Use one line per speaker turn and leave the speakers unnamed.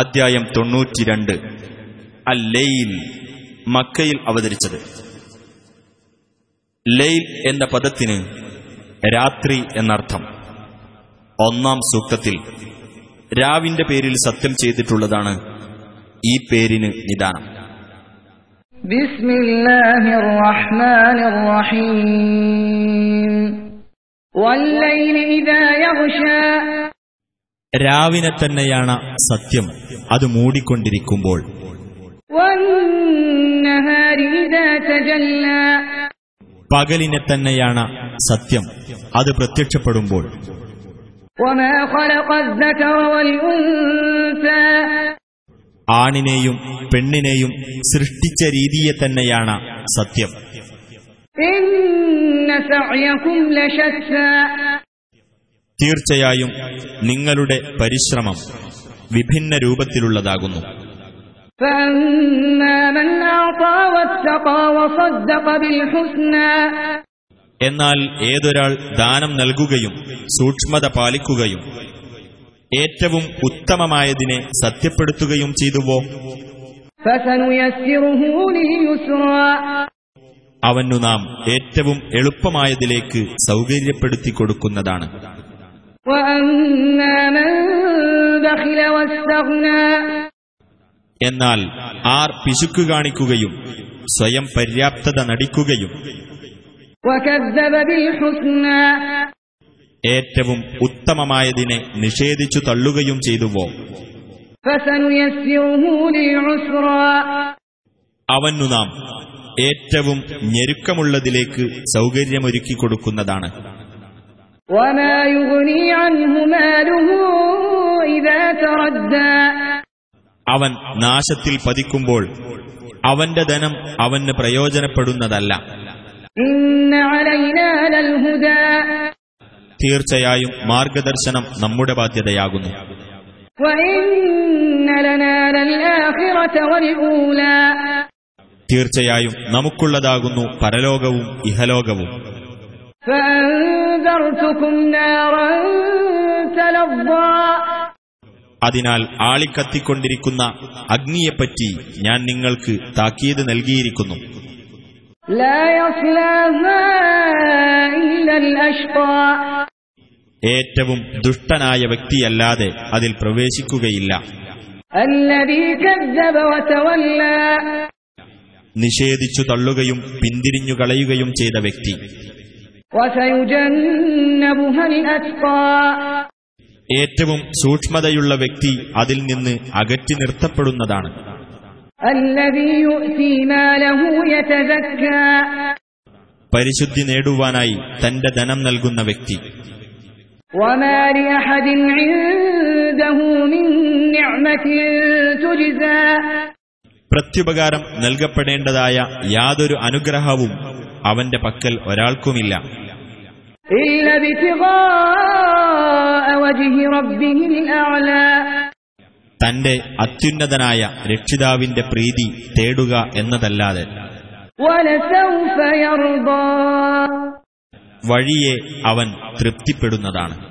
അധ്യായം തൊണ്ണൂറ്റിരണ്ട് അൽ ലെയിൽ മക്കയിൽ അവതരിച്ചത് ലെയിൽ എന്ന പദത്തിന് രാത്രി എന്നർത്ഥം ഒന്നാം സൂക്തത്തിൽ രാവിന്റെ പേരിൽ സത്യം ചെയ്തിട്ടുള്ളതാണ് ഈ പേരിന് നിദാനം
بسم الله الرحمن الرحيم والليل إذا يغشى
രാവിനെ തന്നെയാണ് സത്യം അത് മൂടിക്കൊണ്ടിരിക്കുമ്പോൾ
والنهار إذا تجلى
പകലിനെ തന്നെയാണ് സത്യം അത് പ്രത്യക്ഷപ്പെടുമ്പോൾ
وما خلق الذكر والأنثى
ആണിനെയും പെണ്ണിനെയും സൃഷ്ടിച്ച രീതിയെ തന്നെയാണ് സത്യം
إن سعيكم لشتى
തീർച്ചയായും നിങ്ങളുടെ പരിശ്രമം വിഭിന്ന രൂപത്തിലുള്ളതാകുന്നു
فأما من أعطى واتقى وصدق بالحسنى
എന്നാൽ ഏതൊരാൾ ദാനം നൽകുകയും സൂക്ഷ്മത പാലിക്കുകയും ഏറ്റവും ഉത്തമമായതിനെ സത്യപ്പെടുത്തുകയും ചെയ്തുവോ
فسنيسره لليسرى
അവനു നാം ഏറ്റവും എളുപ്പമായതിലേക്ക് സൗകര്യപ്പെടുത്തി കൊടുക്കുന്നതാണ്
وأما من بخل واستغنى
എന്നാൽ ആർ പിശുക്ക് കാണിക്കുകയും സ്വയം പര്യാപ്തത നടിക്കുകയും
وكذب بالحسنى
ഏറ്റവും ഉത്തമമായതിനെ നിഷേധിച്ചു തള്ളുകയും ചെയ്തുവോ
فسنيسره للعسرى
അവനു നാം ഏറ്റവും ഞെരുക്കമുള്ളതിലേക്ക് സൗകര്യമൊരുക്കി കൊടുക്കുന്നതാണ്
وما يغني عنه ماله إذا تردى
അവൻ നാശത്തിൽ പതിക്കുമ്പോൾ അവന്റെ ധനം അവന് പ്രയോജനപ്പെടുന്നതല്ല
إن علينا للهدى
തീർച്ചയായും മാർഗദർശനം നമ്മുടെ ബാധ്യതയാകുന്നു
وإن لنا للآخرة والأولى
തീർച്ചയായും നമുക്കുള്ളതാകുന്നു പരലോകവും ഇഹലോകവും
فأنذرتكم نارا تلظى
അതിനാൽ ആളിക്കത്തിക്കൊണ്ടിരിക്കുന്ന അഗ്നിയെപ്പറ്റി ഞാൻ നിങ്ങൾക്ക് താക്കീത് നൽകിയിരിക്കുന്നു
لا يصلاها إلا الأشقى
ഏറ്റവും ദുഷ്ടനായ വ്യക്തിയല്ലാതെ അതിൽ പ്രവേശിക്കുകയില്ല
الذي كذب وتولى
നിഷേധിച്ചു തള്ളുകയും പിന്തിരിഞ്ഞു കളയുകയും ചെയ്ത വ്യക്തി
وسيجنبها الأتقى
ഏറ്റവും സൂക്ഷ്മതയുള്ള വ്യക്തി അതിൽ നിന്ന് അകറ്റി നിർത്തപ്പെടുന്നതാണ്
الذي يؤتي ماله يتزكى
പരിശുദ്ധി നേടുവാനായി തന്റെ ധനം നൽകുന്ന വ്യക്തി
وما لأحد عنده من نعمة تجزى
പ്രത്യുപകാരം നൽകപ്പെടേണ്ടതായ യാതൊരു അനുഗ്രഹവും അവന്റെ പക്കൽ ഒരാൾക്കുമില്ല
إلا ابتغاء وجه ربه الأعلى
തന്റെ അത്യുന്നതനായ രക്ഷിതാവിന്റെ പ്രീതി തേടുക എന്നതല്ലാതെ
ولسوف يرضى
വഴിയെ അവൻ തൃപ്തിപ്പെടുന്നതാണ്